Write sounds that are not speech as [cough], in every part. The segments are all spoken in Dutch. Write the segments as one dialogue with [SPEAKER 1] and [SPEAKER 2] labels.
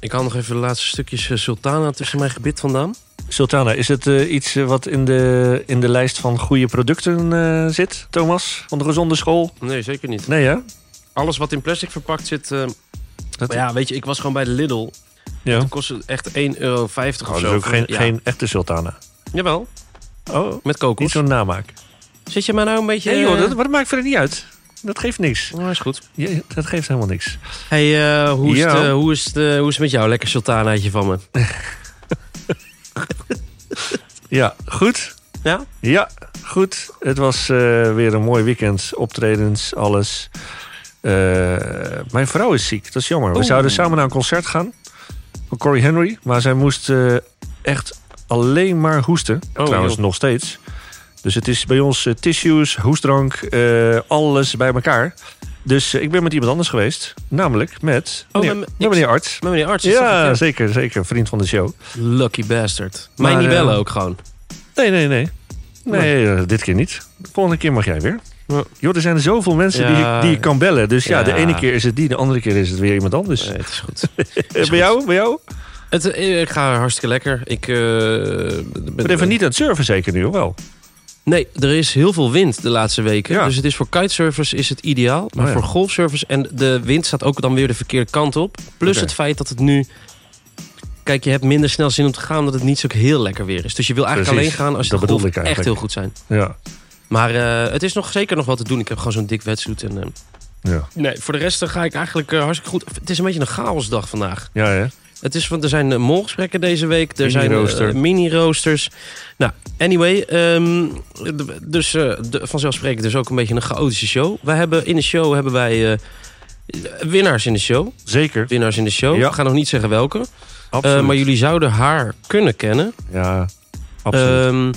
[SPEAKER 1] Ik haal nog even de laatste stukjes eh, Sultana tussen mijn gebit vandaan.
[SPEAKER 2] Sultana, is het eh, iets eh, wat in de, in de lijst van goede producten eh, zit, Thomas? Van de gezonde school?
[SPEAKER 1] Nee, zeker niet.
[SPEAKER 2] Nee, hè?
[SPEAKER 1] Alles wat in plastic verpakt zit... eh,
[SPEAKER 2] Dat-
[SPEAKER 1] maar ja, weet je, ik was gewoon bij de Lidl.
[SPEAKER 2] Ja.
[SPEAKER 1] Toen kostte het echt 1,50 euro of
[SPEAKER 2] Oh, dat is
[SPEAKER 1] zo.
[SPEAKER 2] ook geen,
[SPEAKER 1] Ja.
[SPEAKER 2] geen echte sultana.
[SPEAKER 1] Jawel,
[SPEAKER 2] Oh,
[SPEAKER 1] met
[SPEAKER 2] niet
[SPEAKER 1] kokos.
[SPEAKER 2] zo'n namaak.
[SPEAKER 1] Zit je mij nou een beetje...
[SPEAKER 2] Nee
[SPEAKER 1] eh,
[SPEAKER 2] joh, dat, maar dat maakt verder niet uit. Dat geeft niks.
[SPEAKER 1] Oh, is goed.
[SPEAKER 2] Je- dat geeft helemaal niks.
[SPEAKER 1] Hey, eh, hoe, is het,
[SPEAKER 2] Ja.
[SPEAKER 1] eh, hoe, is het, eh, hoe is het met jou? Lekker sultanaatje van me.
[SPEAKER 2] Ja, goed.
[SPEAKER 1] Ja?
[SPEAKER 2] Ja, goed. Het was eh, weer een mooi weekend. Optredens, alles. Eh, mijn vrouw is ziek, dat is jammer. We
[SPEAKER 1] Oeh.
[SPEAKER 2] zouden samen naar een concert gaan van Corey Henry. Maar zij moest eh, echt alleen maar hoesten.
[SPEAKER 1] Oh,
[SPEAKER 2] Trouwens,
[SPEAKER 1] joh.
[SPEAKER 2] nog steeds. Dus het is bij ons eh, tissues, hoestdrank, eh, alles bij elkaar. Dus eh, ik ben met iemand anders geweest. Namelijk met
[SPEAKER 1] Oh,
[SPEAKER 2] meneer,
[SPEAKER 1] met me-
[SPEAKER 2] met meneer Arts.
[SPEAKER 1] Met meneer Arts is
[SPEAKER 2] Ja,
[SPEAKER 1] dat goed,
[SPEAKER 2] zeker, zeker. Vriend van de show.
[SPEAKER 1] ja. Lucky bastard. Mij
[SPEAKER 2] Maar,
[SPEAKER 1] niet bellen
[SPEAKER 2] eh,
[SPEAKER 1] ook gewoon.
[SPEAKER 2] Nee, nee, nee. Nee, eh, dit keer niet. Volgende keer mag jij weer.
[SPEAKER 1] Ja.
[SPEAKER 2] Joh, er zijn er zoveel mensen die,
[SPEAKER 1] Ja.
[SPEAKER 2] je, die je kan bellen. Dus ja.
[SPEAKER 1] Ja.
[SPEAKER 2] de ene keer is het die, de andere keer is het weer iemand anders.
[SPEAKER 1] Nee, het is goed.
[SPEAKER 2] Eh, bij jou? Bij
[SPEAKER 1] [laughs]
[SPEAKER 2] jou?
[SPEAKER 1] Het, eh, ik ga hartstikke lekker. Ik eh,
[SPEAKER 2] Ik
[SPEAKER 1] ben
[SPEAKER 2] ben even niet aan het surfen zeker nu, of wel?
[SPEAKER 1] Nee, er is heel veel wind de laatste weken.
[SPEAKER 2] Ja. Oh
[SPEAKER 1] Dus het is voor kitesurfers is het ideaal. Maar
[SPEAKER 2] ja.
[SPEAKER 1] voor golfsurfers en de wind staat ook dan weer de verkeerde kant op. Plus
[SPEAKER 2] Oké.
[SPEAKER 1] het feit dat het nu... Kijk, je hebt minder snel zin om te gaan... dat het niet zo heel lekker weer is. Dus je wil eigenlijk
[SPEAKER 2] Precies,
[SPEAKER 1] alleen gaan als je
[SPEAKER 2] dat
[SPEAKER 1] de
[SPEAKER 2] bedoel
[SPEAKER 1] golf
[SPEAKER 2] ik
[SPEAKER 1] echt
[SPEAKER 2] eigenlijk.
[SPEAKER 1] heel goed zijn.
[SPEAKER 2] Ja.
[SPEAKER 1] Maar eh, het is nog zeker nog wat te doen. Ik heb gewoon zo'n dik wetsuit. En, eh,
[SPEAKER 2] Ja,
[SPEAKER 1] nee, voor de rest eh, ga ik eigenlijk eh, hartstikke goed. Het is een beetje een chaosdag vandaag.
[SPEAKER 2] ja. hè?
[SPEAKER 1] Het is, want er zijn eh, molgesprekken deze week. Er zijn
[SPEAKER 2] Mini-rooster.
[SPEAKER 1] eh, mini-roosters. nou, anyway. ehm, d- dus eh, de- vanzelfsprekend dus ook een beetje een chaotische show. Wij hebben, in de show hebben wij eh, winnaars in de show.
[SPEAKER 2] Zeker.
[SPEAKER 1] Winnaars in de show.
[SPEAKER 2] Ja.
[SPEAKER 1] Ik ga nog niet zeggen welke. Eh,
[SPEAKER 2] Absoluut.
[SPEAKER 1] maar jullie zouden haar kunnen kennen.
[SPEAKER 2] Ja, absoluut.
[SPEAKER 1] Ehm,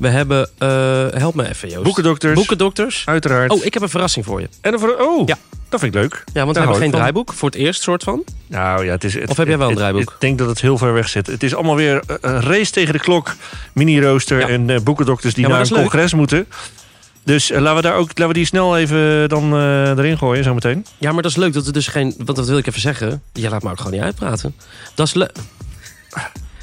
[SPEAKER 1] we hebben... eh, help me even, Joost.
[SPEAKER 2] Boekendokters,
[SPEAKER 1] Boekendokters.
[SPEAKER 2] uiteraard.
[SPEAKER 1] Oh, ik heb een verrassing voor je.
[SPEAKER 2] En dan voor, oh,
[SPEAKER 1] Ja.
[SPEAKER 2] dat vind ik leuk.
[SPEAKER 1] Ja, want
[SPEAKER 2] Daar
[SPEAKER 1] we
[SPEAKER 2] hou
[SPEAKER 1] hebben
[SPEAKER 2] ik
[SPEAKER 1] geen
[SPEAKER 2] van.
[SPEAKER 1] draaiboek. Voor het eerst, soort van.
[SPEAKER 2] Nou ja, het is... het-
[SPEAKER 1] Of heb jij wel een
[SPEAKER 2] het- het-
[SPEAKER 1] draaiboek?
[SPEAKER 2] Ik denk dat het heel ver weg zit. Het is allemaal weer eh, een race tegen de klok. Mini-rooster
[SPEAKER 1] Ja.
[SPEAKER 2] en eh, boekendokters die
[SPEAKER 1] Ja, maar
[SPEAKER 2] naar een
[SPEAKER 1] dat is leuk.
[SPEAKER 2] congres moeten. Dus eh, laten we daar ook laten we die snel even dan eh, erin gooien zometeen.
[SPEAKER 1] Ja, maar dat is leuk dat er dus geen. Want dat wil ik even zeggen. Jij laat me ook gewoon niet uitpraten. Dat is leuk.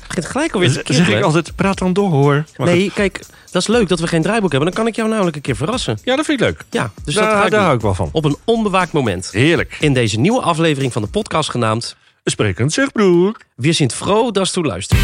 [SPEAKER 1] Begint gelijk alweer te
[SPEAKER 2] Dan zeg Dus ik
[SPEAKER 1] kibbelen.
[SPEAKER 2] altijd, praat dan door hoor. Maar goed.
[SPEAKER 1] Nee, kijk, dat is leuk dat we geen draaiboek hebben. Dan kan ik jou namelijk een keer verrassen.
[SPEAKER 2] Ja, dat vind ik leuk.
[SPEAKER 1] Ja, dus dat
[SPEAKER 2] daar,
[SPEAKER 1] ga ik
[SPEAKER 2] daar
[SPEAKER 1] doen.
[SPEAKER 2] hou ik wel van.
[SPEAKER 1] Op een onbewaakt moment.
[SPEAKER 2] Heerlijk.
[SPEAKER 1] In deze nieuwe aflevering van de podcast genaamd.
[SPEAKER 2] Sprekend zegbroek.
[SPEAKER 1] Wie sint vro, dat is toe luisteren.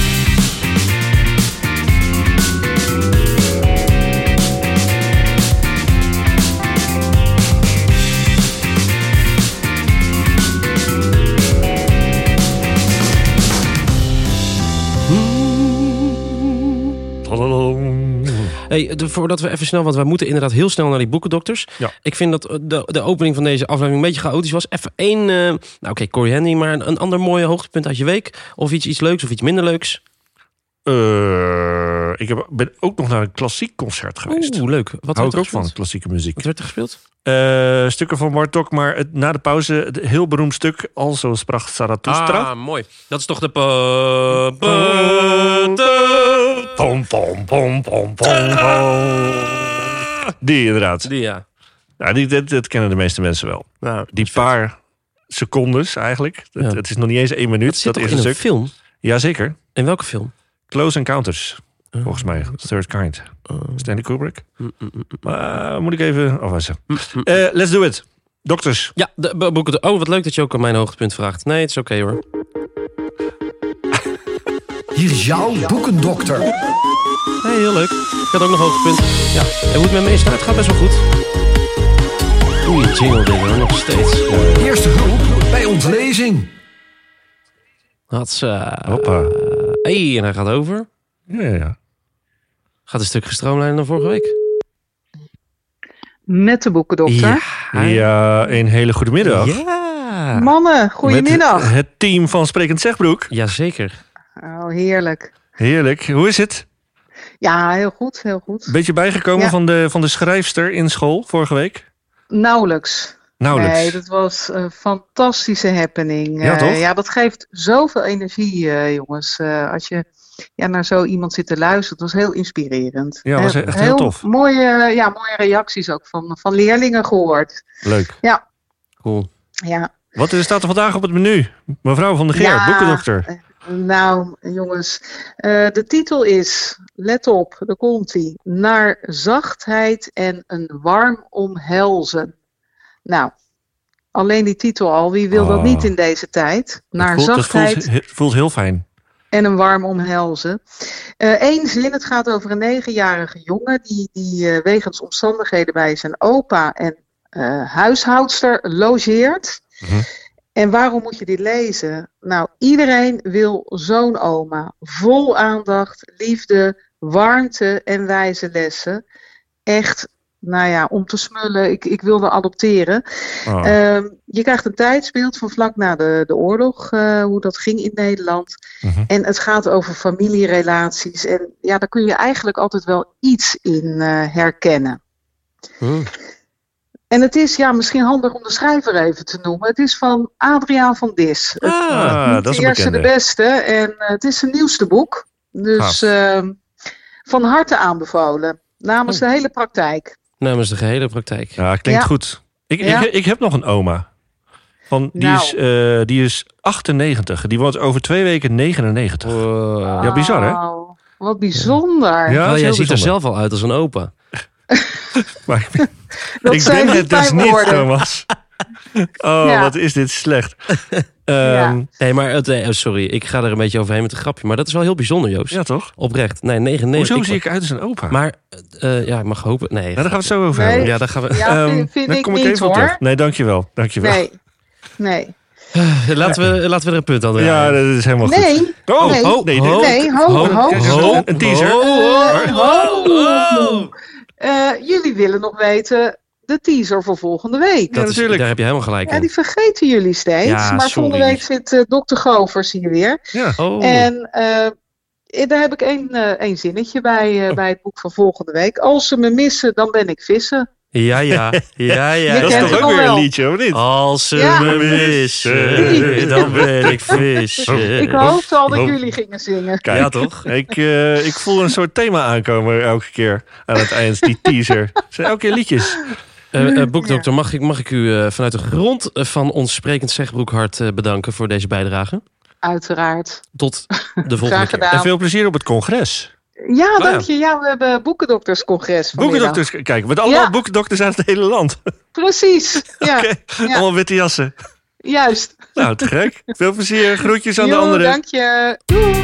[SPEAKER 2] Tadadam.
[SPEAKER 1] Hey, de- voordat we even snel, want wij moeten inderdaad heel snel naar die boekendokters.
[SPEAKER 2] Ja.
[SPEAKER 1] Ik vind dat eh, de, de opening van deze aflevering een beetje chaotisch was. Even één, eh, nou oké, Corey Henry, maar een, een ander mooi hoogtepunt uit je week. Of iets, iets leuks of iets minder leuks.
[SPEAKER 2] Eh, ik heb, ben ook nog naar een klassiek concert geweest.
[SPEAKER 1] Oeh, leuk. Wat
[SPEAKER 2] hou
[SPEAKER 1] werd
[SPEAKER 2] ik
[SPEAKER 1] er
[SPEAKER 2] ook
[SPEAKER 1] gespeeld?
[SPEAKER 2] van, klassieke muziek.
[SPEAKER 1] Wat werd er gespeeld?
[SPEAKER 2] Eh, stukken van Bartok, maar het, na de pauze het heel beroemd stuk. Also sprak Zarathustra.
[SPEAKER 1] Ah, mooi. Dat is toch de... pa- pa-
[SPEAKER 2] Pom, pom, pom, pom, pom, pom. Die inderdaad.
[SPEAKER 1] Die, ja.
[SPEAKER 2] Ja, die, dat, dat kennen de meeste mensen wel.
[SPEAKER 1] Nou,
[SPEAKER 2] Die paar secondes eigenlijk. Het,
[SPEAKER 1] Ja.
[SPEAKER 2] het is nog niet eens één minuut.
[SPEAKER 1] dat zit
[SPEAKER 2] Dat,
[SPEAKER 1] toch
[SPEAKER 2] is
[SPEAKER 1] in
[SPEAKER 2] een
[SPEAKER 1] een
[SPEAKER 2] stuk.
[SPEAKER 1] film?
[SPEAKER 2] Jazeker.
[SPEAKER 1] In welke film?
[SPEAKER 2] Close Encounters.
[SPEAKER 1] Eh,
[SPEAKER 2] Volgens mij. Third Kind. Stanley Kubrick.
[SPEAKER 1] Oh. mm, mm, mm,
[SPEAKER 2] Maar eh, moet ik even afwassen.
[SPEAKER 1] mm, mm.
[SPEAKER 2] Eh, let's do it. Dokters.
[SPEAKER 1] Ja, de bo- boeken. de- Oh, wat leuk dat je ook aan mijn hoogtepunt vraagt. Nee, het is oké hoor.
[SPEAKER 3] Hier is jouw boekendokter.
[SPEAKER 1] Hey, heel leuk. Ik had ook nog hoogtepunt. Ja. En hoe het met me is, nou, het gaat best wel goed. Oei, jingle dingen, nog steeds.
[SPEAKER 3] Eerste hulp bij ontlezing.
[SPEAKER 1] Hatsa.
[SPEAKER 2] Hoppa.
[SPEAKER 1] eh, Hey, en hij gaat over.
[SPEAKER 2] Eh, Ja, ja, ja.
[SPEAKER 1] Gaat een stuk gestroomlijnd dan vorige week.
[SPEAKER 4] Met de boekendokter.
[SPEAKER 1] Ja.
[SPEAKER 2] Ja, een hele goede middag.
[SPEAKER 1] Ja.
[SPEAKER 4] Mannen,
[SPEAKER 2] Met
[SPEAKER 4] goedemiddag.
[SPEAKER 2] het team van Sprekend Zegbroek.
[SPEAKER 1] Jazeker.
[SPEAKER 4] Oh, heerlijk.
[SPEAKER 2] Heerlijk. Hoe is het?
[SPEAKER 4] Ja, heel goed, heel goed.
[SPEAKER 2] Beetje bijgekomen
[SPEAKER 4] Ja.
[SPEAKER 2] van, de, van de schrijfster in school vorige week?
[SPEAKER 4] Nauwelijks.
[SPEAKER 2] Nauwelijks.
[SPEAKER 4] Nee, dat was een fantastische happening.
[SPEAKER 2] Ja,
[SPEAKER 4] Eh,
[SPEAKER 2] toch?
[SPEAKER 4] ja, dat geeft zoveel energie, eh, jongens. Eh, als je ja, naar zo iemand zit te luisteren, dat was heel inspirerend.
[SPEAKER 2] Ja, was
[SPEAKER 4] Eh,
[SPEAKER 2] echt heel tof.
[SPEAKER 4] Mooie, ja, mooie reacties ook van, van leerlingen gehoord.
[SPEAKER 2] Leuk.
[SPEAKER 1] Cool.
[SPEAKER 4] Ja,
[SPEAKER 2] Wat is, staat er vandaag op het menu? Mevrouw van der Geer,
[SPEAKER 4] Ja.
[SPEAKER 2] boekendokter.
[SPEAKER 4] Nou, jongens, eh, de titel is, let op, daar komt hij, naar zachtheid en een warm omhelzen. Nou, alleen die titel al, wie wil dat
[SPEAKER 2] Oh.
[SPEAKER 4] niet in deze tijd? Naar
[SPEAKER 2] dat voelt, dat
[SPEAKER 4] zachtheid
[SPEAKER 2] voelt, he- voelt heel fijn.
[SPEAKER 4] en een warm omhelzen. Eén zin, het gaat over een negenjarige jongen die, die eh, wegens omstandigheden bij zijn opa en eh, huishoudster logeert.
[SPEAKER 2] Mhm.
[SPEAKER 4] En waarom moet je dit lezen? Nou, iedereen wil zo'n oma. Vol aandacht, liefde, warmte en wijze lessen. Echt, nou ja, om te smullen. Ik, ik wilde adopteren.
[SPEAKER 2] Oh.
[SPEAKER 4] Ehm, je krijgt een tijdsbeeld van vlak na de, de oorlog, eh, hoe dat ging in Nederland.
[SPEAKER 2] Mhm.
[SPEAKER 4] En het gaat over familierelaties. En ja, daar kun je eigenlijk altijd wel iets in eh, herkennen.
[SPEAKER 1] Hm.
[SPEAKER 4] En het is ja, misschien handig om de schrijver even te noemen. Het is van Adriaan van Dis. Het
[SPEAKER 2] ah,
[SPEAKER 4] niet
[SPEAKER 2] dat is
[SPEAKER 4] de
[SPEAKER 2] een
[SPEAKER 4] eerste, de
[SPEAKER 2] bekende.
[SPEAKER 4] beste. En eh, het is zijn nieuwste boek. Dus
[SPEAKER 2] Gaaf.
[SPEAKER 4] ehm, van harte aanbevolen. Namens
[SPEAKER 2] Oh.
[SPEAKER 4] de hele praktijk.
[SPEAKER 1] Namens de gehele praktijk.
[SPEAKER 2] Ja, klinkt
[SPEAKER 4] Ja.
[SPEAKER 2] goed. Ik,
[SPEAKER 4] Ja.
[SPEAKER 2] ik, ik heb nog een oma. Van, die,
[SPEAKER 4] Nou.
[SPEAKER 2] is, eh, die is 98. Die wordt over twee weken 99.
[SPEAKER 1] Wow.
[SPEAKER 2] Ja, bizar, hè?
[SPEAKER 4] Wauw, wat
[SPEAKER 2] Ja,
[SPEAKER 4] bijzonder.
[SPEAKER 2] dat
[SPEAKER 1] Oh, jij
[SPEAKER 2] is heel
[SPEAKER 1] ziet er
[SPEAKER 2] bijzonder.
[SPEAKER 1] zelf al uit als een opa.
[SPEAKER 2] Maar ik ben-
[SPEAKER 4] [laughs] Dat
[SPEAKER 2] ik
[SPEAKER 4] zijn
[SPEAKER 2] ben
[SPEAKER 4] niet
[SPEAKER 2] het dus
[SPEAKER 4] mijn
[SPEAKER 2] niet,
[SPEAKER 4] woorden. [laughs]
[SPEAKER 2] Thomas. Oh,
[SPEAKER 4] Ja.
[SPEAKER 2] wat is dit [laughs] slecht.
[SPEAKER 4] Ja.
[SPEAKER 2] Ehm,
[SPEAKER 1] Nee, maar het, eh, sorry, ik ga er een beetje overheen met een grapje. Maar dat is wel heel bijzonder, Joost.
[SPEAKER 2] ja, toch?
[SPEAKER 1] Oprecht. Nee, 99.
[SPEAKER 2] Hoezo zie ik uit als een opa? Maar,
[SPEAKER 1] Maar, eh, ja, ik mag hopen. Nee,
[SPEAKER 2] daar gaan we het zo over
[SPEAKER 4] Nee.
[SPEAKER 2] hebben.
[SPEAKER 1] Ja, daar gaan we.
[SPEAKER 4] Ja,
[SPEAKER 2] Ehm,
[SPEAKER 4] vind, vind
[SPEAKER 2] daar
[SPEAKER 4] ik
[SPEAKER 2] kom
[SPEAKER 4] niet
[SPEAKER 2] even op
[SPEAKER 4] hoor.
[SPEAKER 2] terug. Nee, dankjewel. dankjewel.
[SPEAKER 4] Nee, nee.
[SPEAKER 1] Laten, we, [laughs] laten we er een punt aan draaien.
[SPEAKER 2] Ja, dat is helemaal goed.
[SPEAKER 4] Nee,
[SPEAKER 2] Oh,
[SPEAKER 4] Nee.
[SPEAKER 2] oh, nee,
[SPEAKER 1] Ho,
[SPEAKER 2] dit-
[SPEAKER 4] nee, ho,
[SPEAKER 1] ho,
[SPEAKER 4] ho.
[SPEAKER 2] dit is
[SPEAKER 1] ho.
[SPEAKER 2] een- een teaser.
[SPEAKER 1] Ho,
[SPEAKER 4] ho,
[SPEAKER 2] Eh,
[SPEAKER 4] ho.
[SPEAKER 1] ho.
[SPEAKER 4] Eh, jullie willen nog weten de teaser voor volgende week.
[SPEAKER 1] Dat is,
[SPEAKER 2] natuurlijk.
[SPEAKER 1] daar heb je helemaal gelijk
[SPEAKER 4] Ja,
[SPEAKER 1] in.
[SPEAKER 4] die vergeten jullie steeds.
[SPEAKER 1] Ja,
[SPEAKER 4] maar
[SPEAKER 1] sorry.
[SPEAKER 4] volgende week zit eh Dr. Govers hier weer.
[SPEAKER 2] Ja.
[SPEAKER 1] Oh,
[SPEAKER 4] En eh, daar heb ik één, eh, één zinnetje bij,
[SPEAKER 2] Oh.
[SPEAKER 4] eh, bij het boek van volgende week. Als ze me missen, dan ben ik vissen.
[SPEAKER 1] ja, ja, ja, ja.
[SPEAKER 4] Je
[SPEAKER 2] Dat is
[SPEAKER 4] kent
[SPEAKER 2] toch
[SPEAKER 4] het
[SPEAKER 2] ook
[SPEAKER 4] nog
[SPEAKER 2] weer een
[SPEAKER 4] wel.
[SPEAKER 2] liedje, of
[SPEAKER 1] [laughs]
[SPEAKER 2] niet?
[SPEAKER 1] Als ze
[SPEAKER 4] Ja.
[SPEAKER 1] me missen,
[SPEAKER 4] [laughs]
[SPEAKER 1] dan ben ik vissen.
[SPEAKER 4] Ik hoopte al dat
[SPEAKER 2] Oh.
[SPEAKER 4] jullie gingen zingen.
[SPEAKER 2] Kijk.
[SPEAKER 1] Ja, toch?
[SPEAKER 2] Ik, eh, ik voel een soort thema aankomen elke keer aan het eind, die
[SPEAKER 4] [laughs]
[SPEAKER 2] teaser. Het zijn elke keer liedjes.
[SPEAKER 1] Eh, eh, boekdokter, mag ik, mag ik u eh, vanuit de grond eh, van ons sprekend zegbroekhart eh, bedanken voor deze bijdrage?
[SPEAKER 4] Uiteraard.
[SPEAKER 1] Tot
[SPEAKER 4] [laughs]
[SPEAKER 1] de volgende
[SPEAKER 4] Graag
[SPEAKER 1] keer.
[SPEAKER 2] En
[SPEAKER 4] gedaan.
[SPEAKER 2] veel plezier op het congres.
[SPEAKER 4] Ja,
[SPEAKER 2] Oh ja.
[SPEAKER 4] dank je. Ja, we hebben boekendokterscongres vanmiddag.
[SPEAKER 2] Boekendokters, kijk, met allemaal
[SPEAKER 4] Ja.
[SPEAKER 2] boekendokters uit het hele land.
[SPEAKER 4] Precies. Ja,
[SPEAKER 2] Oké,
[SPEAKER 4] Ja.
[SPEAKER 2] Allemaal witte jassen.
[SPEAKER 4] juist.
[SPEAKER 2] Nou, te gek. Veel plezier. Groetjes aan de
[SPEAKER 4] Jo,
[SPEAKER 2] anderen.
[SPEAKER 4] Dank je. Doei.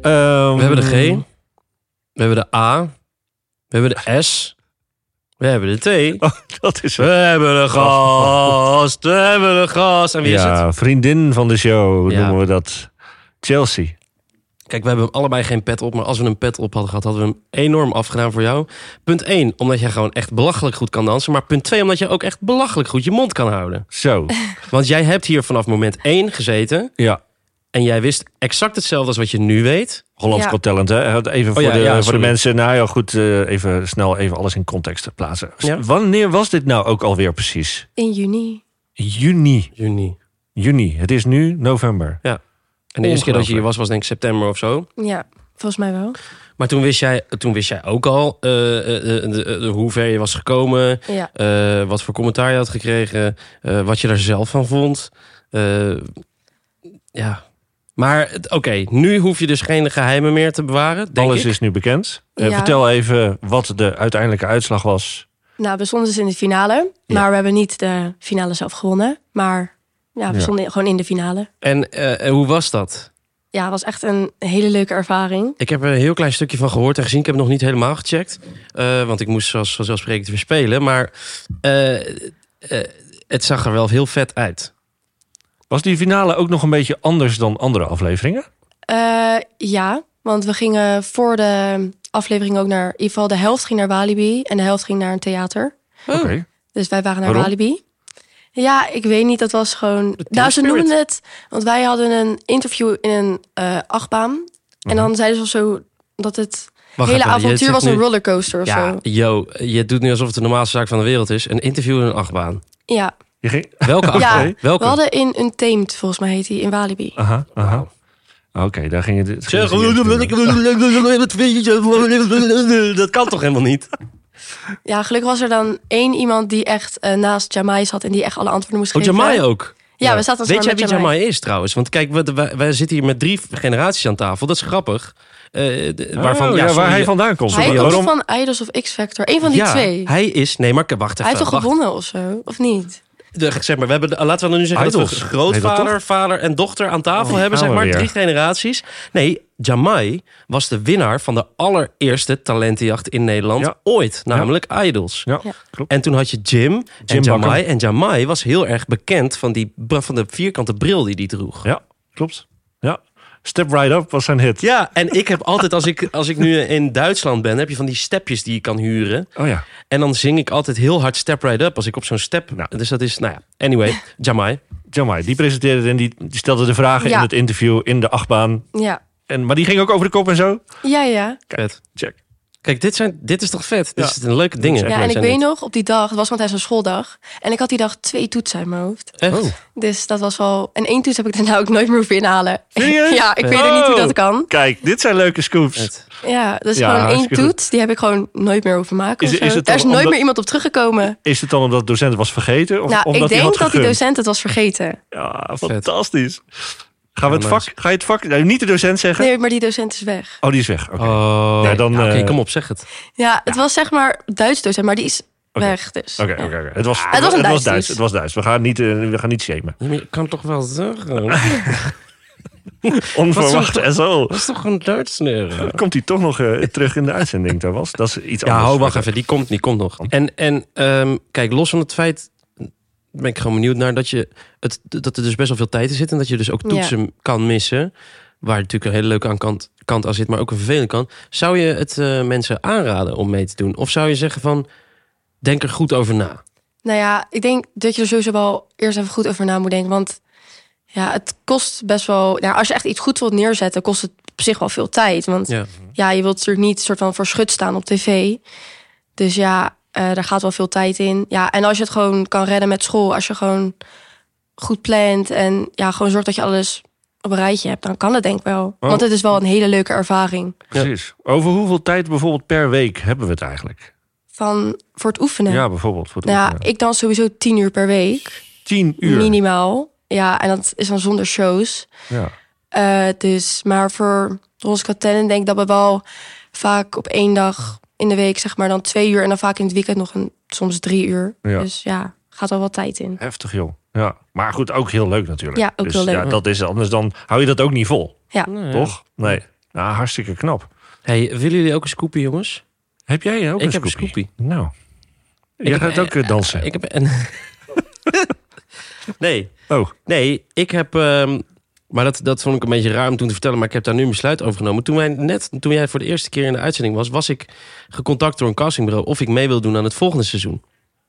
[SPEAKER 2] Ehm,
[SPEAKER 1] We hebben de G. We hebben de A. We hebben de S. We hebben de T.
[SPEAKER 2] Oh, dat is
[SPEAKER 1] We
[SPEAKER 2] wel.
[SPEAKER 1] hebben een gast. We hebben een gast. En wie is het?
[SPEAKER 2] Ja, vriendin van de show
[SPEAKER 1] Ja.
[SPEAKER 2] noemen we dat. Chelsea.
[SPEAKER 1] Kijk, we hebben hem allebei geen pet op. Maar als we een pet op hadden gehad, hadden we hem enorm afgedaan voor jou. Punt 1, omdat jij gewoon echt belachelijk goed kan dansen. Maar punt 2, omdat jij ook echt belachelijk goed je mond kan houden.
[SPEAKER 2] Zo.
[SPEAKER 1] Want jij hebt hier vanaf moment 1 gezeten.
[SPEAKER 2] Ja.
[SPEAKER 1] En jij wist exact hetzelfde als wat je nu weet.
[SPEAKER 2] Hollands
[SPEAKER 5] Ja.
[SPEAKER 2] Got Talent, hè? Even voor,
[SPEAKER 1] ja,
[SPEAKER 2] de,
[SPEAKER 1] ja,
[SPEAKER 2] voor de
[SPEAKER 1] sorry.
[SPEAKER 2] mensen. Nou ja, goed, eh, even snel even alles in context te plaatsen. S-
[SPEAKER 1] Ja.
[SPEAKER 2] Wanneer was dit nou ook alweer precies?
[SPEAKER 5] In juni.
[SPEAKER 2] Juni.
[SPEAKER 1] Juni.
[SPEAKER 2] Juni. Het is nu november.
[SPEAKER 1] En de eerste keer dat je
[SPEAKER 2] Ongelooflijk.
[SPEAKER 1] hier was, was denk ik september of zo.
[SPEAKER 5] Ja, volgens mij wel.
[SPEAKER 1] Maar toen wist jij, toen wist jij ook al eh, eh, eh, de- eh, hoe ver je was gekomen.
[SPEAKER 5] Ja.
[SPEAKER 1] eh, wat voor commentaar je had gekregen. eh, wat je daar zelf van vond. Eh, ja. Maar het- oké, nu hoef je dus geen geheimen meer te bewaren. Denk
[SPEAKER 2] alles
[SPEAKER 1] ik.
[SPEAKER 2] is nu bekend. Eh,
[SPEAKER 5] Ja.
[SPEAKER 2] Vertel even wat de uiteindelijke uitslag was.
[SPEAKER 5] Nou, we stonden dus in de finale.
[SPEAKER 1] Ja.
[SPEAKER 5] Maar we hebben niet de finale zelf gewonnen. Maar ja, we
[SPEAKER 2] Ja.
[SPEAKER 5] stonden gewoon in de finale.
[SPEAKER 1] En eh, eh, hoe was dat?
[SPEAKER 5] Ja, het was echt een hele leuke ervaring.
[SPEAKER 1] Ik heb er een heel klein stukje van gehoord en gezien. Ik heb het nog niet helemaal gecheckt. eh, want ik moest zoals vanzelfsprekend weer spelen. Maar eh, eh, het zag er wel heel vet uit.
[SPEAKER 2] Was die finale ook nog een beetje anders dan andere afleveringen?
[SPEAKER 5] Eh, ja, want we gingen voor de aflevering ook naar... In ieder geval de helft ging naar Walibi en de helft ging naar een theater.
[SPEAKER 1] Oh.
[SPEAKER 2] Oké.
[SPEAKER 5] Dus wij waren naar
[SPEAKER 2] Waarom?
[SPEAKER 5] Walibi. Ja, ik weet niet, dat was gewoon...
[SPEAKER 1] team
[SPEAKER 5] Nou, ze
[SPEAKER 1] spirit.
[SPEAKER 5] noemden het... Want wij hadden een interview in een eh, achtbaan. En dan zeiden ze al zo dat het
[SPEAKER 1] Wacht
[SPEAKER 5] hele
[SPEAKER 1] even, je
[SPEAKER 5] avontuur
[SPEAKER 1] zegt
[SPEAKER 5] was een
[SPEAKER 1] nu-
[SPEAKER 5] rollercoaster of
[SPEAKER 1] Ja,
[SPEAKER 5] zo.
[SPEAKER 1] yo, je doet nu alsof het de normaalste zaak van de wereld is. Een interview in een achtbaan.
[SPEAKER 5] Ja,
[SPEAKER 2] Je ging...
[SPEAKER 1] Welke achtbaan?
[SPEAKER 5] [laughs] Ja,
[SPEAKER 1] Welke? Ah.
[SPEAKER 5] we hadden in een Tamed, volgens mij heet die, in Walibi.
[SPEAKER 2] Aha, aha. Oké, daar ging het- het... ging het-
[SPEAKER 1] dat kan toch helemaal niet?
[SPEAKER 5] Ja, gelukkig was er dan één iemand die echt eh, naast Jamai zat en die echt alle antwoorden moest
[SPEAKER 1] Oh,
[SPEAKER 5] geven.
[SPEAKER 1] Jamai ook.
[SPEAKER 5] Ja, we zaten
[SPEAKER 1] Weet
[SPEAKER 5] als
[SPEAKER 1] jij
[SPEAKER 5] maar
[SPEAKER 1] wie
[SPEAKER 5] met Jamai.
[SPEAKER 1] Jamai is trouwens? Want kijk, we- wij, wij zitten hier met drie generaties aan tafel. Dat is grappig. Eh, de- waarvan,
[SPEAKER 2] Oh, ja,
[SPEAKER 1] sorry,
[SPEAKER 2] waar hij vandaan komt.
[SPEAKER 5] Hij
[SPEAKER 2] Ja,
[SPEAKER 5] komt
[SPEAKER 2] waarom?
[SPEAKER 5] van Idols of X-Factor. Eén van die
[SPEAKER 1] ja,
[SPEAKER 5] twee. Hij,
[SPEAKER 1] Hij is. Nee, maar wacht even.
[SPEAKER 5] heeft toch
[SPEAKER 1] wacht.
[SPEAKER 5] gewonnen of zo? Of niet?
[SPEAKER 1] De, zeg maar, we hebben, de- eh, laten we dan nu zeggen dat
[SPEAKER 2] Idols.
[SPEAKER 1] we
[SPEAKER 2] Heet dat
[SPEAKER 1] grootvader, vader en dochter aan tafel
[SPEAKER 2] Oh,
[SPEAKER 1] hebben. Zeg
[SPEAKER 2] gaan we
[SPEAKER 1] maar
[SPEAKER 2] weer.
[SPEAKER 1] drie generaties. Nee, Jamai was de winnaar van de allereerste talentenjacht in Nederland
[SPEAKER 2] Ja.
[SPEAKER 1] ooit. Namelijk Idols.
[SPEAKER 2] Ja,
[SPEAKER 5] Ja.
[SPEAKER 2] klopt.
[SPEAKER 1] En toen had je Jim, en
[SPEAKER 2] Jim
[SPEAKER 1] Jamai.
[SPEAKER 2] Bakker.
[SPEAKER 1] En Jamai was heel erg bekend van, die, van de vierkante bril die die droeg.
[SPEAKER 2] Ja, klopt. Ja. Step Right Up was zijn hit.
[SPEAKER 1] Ja, en ik heb altijd, als ik, als ik nu in Duitsland ben, heb je van die stepjes die je kan huren.
[SPEAKER 2] Oh ja.
[SPEAKER 1] En dan zing ik altijd heel hard Step Right Up als ik op zo'n step...
[SPEAKER 2] Nou.
[SPEAKER 1] Dus dat is, nou ja,
[SPEAKER 2] [laughs]
[SPEAKER 1] anyway, Jamai.
[SPEAKER 2] Jamai, die presenteerde het en die, die stelde de vragen
[SPEAKER 5] Ja.
[SPEAKER 2] in het interview in de achtbaan.
[SPEAKER 5] Ja.
[SPEAKER 2] En, maar die ging ook over de kop en zo.
[SPEAKER 5] Ja, ja.
[SPEAKER 1] Vet.
[SPEAKER 2] Check.
[SPEAKER 1] Kijk, dit, zijn, dit is toch vet? Dit
[SPEAKER 2] Ja.
[SPEAKER 1] is een leuke dingen.
[SPEAKER 2] Echt
[SPEAKER 5] Ja, en
[SPEAKER 1] zijn
[SPEAKER 5] ik
[SPEAKER 1] dit.
[SPEAKER 5] weet nog, op die dag, het was want hij zo'n schooldag. En ik had die dag twee toetsen in mijn hoofd.
[SPEAKER 1] Echt?
[SPEAKER 2] Oh.
[SPEAKER 5] Dus dat was wel... En één toets heb ik daarna ook nooit meer hoeven inhalen.
[SPEAKER 2] Serieus?
[SPEAKER 5] [laughs] ja, ik weet
[SPEAKER 2] Oh.
[SPEAKER 5] ook niet hoe dat kan.
[SPEAKER 2] Kijk, dit zijn leuke scoops.
[SPEAKER 1] Vet.
[SPEAKER 5] Ja, dus
[SPEAKER 2] Ja,
[SPEAKER 5] gewoon één
[SPEAKER 2] hartstikke goed.
[SPEAKER 5] toets, die heb ik gewoon nooit meer hoeven maken.
[SPEAKER 2] Is-
[SPEAKER 5] of zo.
[SPEAKER 2] is het
[SPEAKER 5] Daar is
[SPEAKER 2] dan
[SPEAKER 5] nooit
[SPEAKER 2] omdat-
[SPEAKER 5] meer iemand op teruggekomen.
[SPEAKER 2] Is het dan omdat de docent het was vergeten? Of
[SPEAKER 5] nou,
[SPEAKER 2] omdat
[SPEAKER 5] ik
[SPEAKER 2] hij
[SPEAKER 5] denk
[SPEAKER 2] had
[SPEAKER 5] dat die
[SPEAKER 2] gegund?
[SPEAKER 5] docent het was vergeten.
[SPEAKER 2] Ja, fantastisch. Gaan we
[SPEAKER 1] Ja,
[SPEAKER 2] het vak, ga je het vak... nou, niet de docent zeggen.
[SPEAKER 5] Nee, maar die docent is weg.
[SPEAKER 2] Oh, die is weg. Oké.
[SPEAKER 1] Oh,
[SPEAKER 2] Nee, dan,
[SPEAKER 1] ja, Oké,
[SPEAKER 2] eh,
[SPEAKER 1] kom op, zeg het.
[SPEAKER 5] Ja, het was zeg maar Duits docent, maar die is
[SPEAKER 2] Oké.
[SPEAKER 5] weg. Dus.
[SPEAKER 2] Oké,
[SPEAKER 5] ja.
[SPEAKER 2] oké, oké. Het was,
[SPEAKER 5] het was een Duits
[SPEAKER 2] Duits.
[SPEAKER 5] dus.
[SPEAKER 2] Het was Duits. We gaan niet, eh, we gaan niet shamen.
[SPEAKER 1] Je kan toch wel zeggen?
[SPEAKER 2] Onverwacht en zo.
[SPEAKER 1] Dat is toch een Duits neer?
[SPEAKER 2] Komt hij toch nog eh, terug in de uitzending, Thomas? Dat is iets
[SPEAKER 1] Ja,
[SPEAKER 2] anders.
[SPEAKER 1] hou wacht even. Die komt, die komt nog. En, en ehm, kijk, los van het feit ben ik gewoon benieuwd naar dat, je het, dat er dus best wel veel tijd in zit. En dat je dus ook toetsen kan missen. Waar natuurlijk een hele leuke aan kant, kant aan zit, maar ook een vervelende kant. Zou je het eh, mensen aanraden om mee te doen? Of zou je zeggen van, denk er goed over na?
[SPEAKER 5] Nou ja, ik denk dat je er sowieso wel eerst even goed over na moet denken. Want ja, het kost best wel. Nou, als je echt iets goed wilt neerzetten, kost het op zich wel veel tijd. Want ja,
[SPEAKER 1] Ja.
[SPEAKER 5] je wilt natuurlijk niet soort van voor schut staan op tv. Dus ja, eh, daar gaat wel veel tijd in. Ja, en als je het gewoon kan redden met school, als je gewoon goed plant en ja, gewoon zorgt dat je alles op een rijtje hebt, dan kan het denk ik wel.
[SPEAKER 2] Oh.
[SPEAKER 5] Want het is wel een hele leuke ervaring
[SPEAKER 2] Precies. Over hoeveel tijd bijvoorbeeld per week hebben we het eigenlijk?
[SPEAKER 5] van voor het oefenen.
[SPEAKER 2] Ja, bijvoorbeeld. Voor het
[SPEAKER 5] nou ja,
[SPEAKER 2] oefenen.
[SPEAKER 5] ik dans sowieso tien uur per week.
[SPEAKER 2] Tien uur.
[SPEAKER 5] Minimaal. Ja, en dat is dan zonder shows.
[SPEAKER 2] Ja.
[SPEAKER 5] Eh, dus, maar voor ons Katellen denk ik dat we wel vaak op één dag in de week, zeg maar, dan twee uur. En dan vaak in het weekend nog een, soms drie uur.
[SPEAKER 2] Ja.
[SPEAKER 5] Dus ja, gaat wel wat tijd in.
[SPEAKER 2] Heftig, joh. Ja. Maar goed, ook heel leuk natuurlijk.
[SPEAKER 5] Ja, ook
[SPEAKER 2] dus,
[SPEAKER 5] heel leuk.
[SPEAKER 2] Ja, dat is anders dan hou je dat ook niet vol,
[SPEAKER 5] Ja.
[SPEAKER 2] toch? Nee. Nou, hartstikke knap.
[SPEAKER 1] Hey, willen jullie ook een scoopie, jongens?
[SPEAKER 2] Heb jij eh, ook
[SPEAKER 1] Ik
[SPEAKER 2] een
[SPEAKER 1] heb een
[SPEAKER 2] scoopie? Nou. Jij
[SPEAKER 1] heb-
[SPEAKER 2] gaat ook eh, dansen.
[SPEAKER 1] Ik heb een... [laughs] nee,
[SPEAKER 2] oh,
[SPEAKER 1] nee, ik heb... ehm, maar dat, dat vond ik een beetje raar om toen te vertellen. Maar ik heb daar nu een besluit over genomen. Toen, wij net, toen jij voor de eerste keer in de uitzending was... was ik gecontact door een castingbureau... of ik mee wil doen aan het volgende seizoen.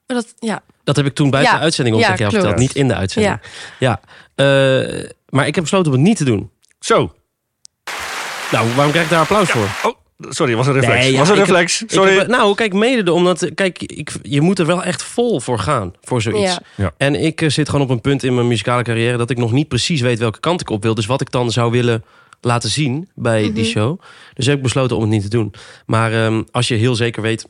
[SPEAKER 5] Maar Dat, ja.
[SPEAKER 1] Dat heb ik toen buiten
[SPEAKER 5] Ja,
[SPEAKER 1] de uitzending al
[SPEAKER 5] ja,
[SPEAKER 1] tegen jou
[SPEAKER 5] klopt.
[SPEAKER 1] verteld. Niet in de uitzending. Ja. eh, maar ik heb besloten om het niet te doen.
[SPEAKER 2] zo.
[SPEAKER 1] Nou, waarom krijg ik daar applaus voor?
[SPEAKER 2] Oh, sorry, was een reflex.
[SPEAKER 1] Nee, ja,
[SPEAKER 2] was een
[SPEAKER 1] ik heb-
[SPEAKER 2] reflex.
[SPEAKER 1] Ik
[SPEAKER 2] sorry.
[SPEAKER 1] heb- nou, kijk, mede omdat... Kijk, ik, je moet er wel echt vol voor gaan, voor zoiets.
[SPEAKER 5] Ja.
[SPEAKER 2] Ja.
[SPEAKER 1] En ik eh, zit gewoon op een punt in mijn muzikale carrière... dat ik nog niet precies weet welke kant ik op wil. Dus wat ik dan zou willen laten zien bij
[SPEAKER 5] Mhm.
[SPEAKER 1] die show. Dus heb ik besloten om het niet te doen. Maar ehm, als je heel zeker weet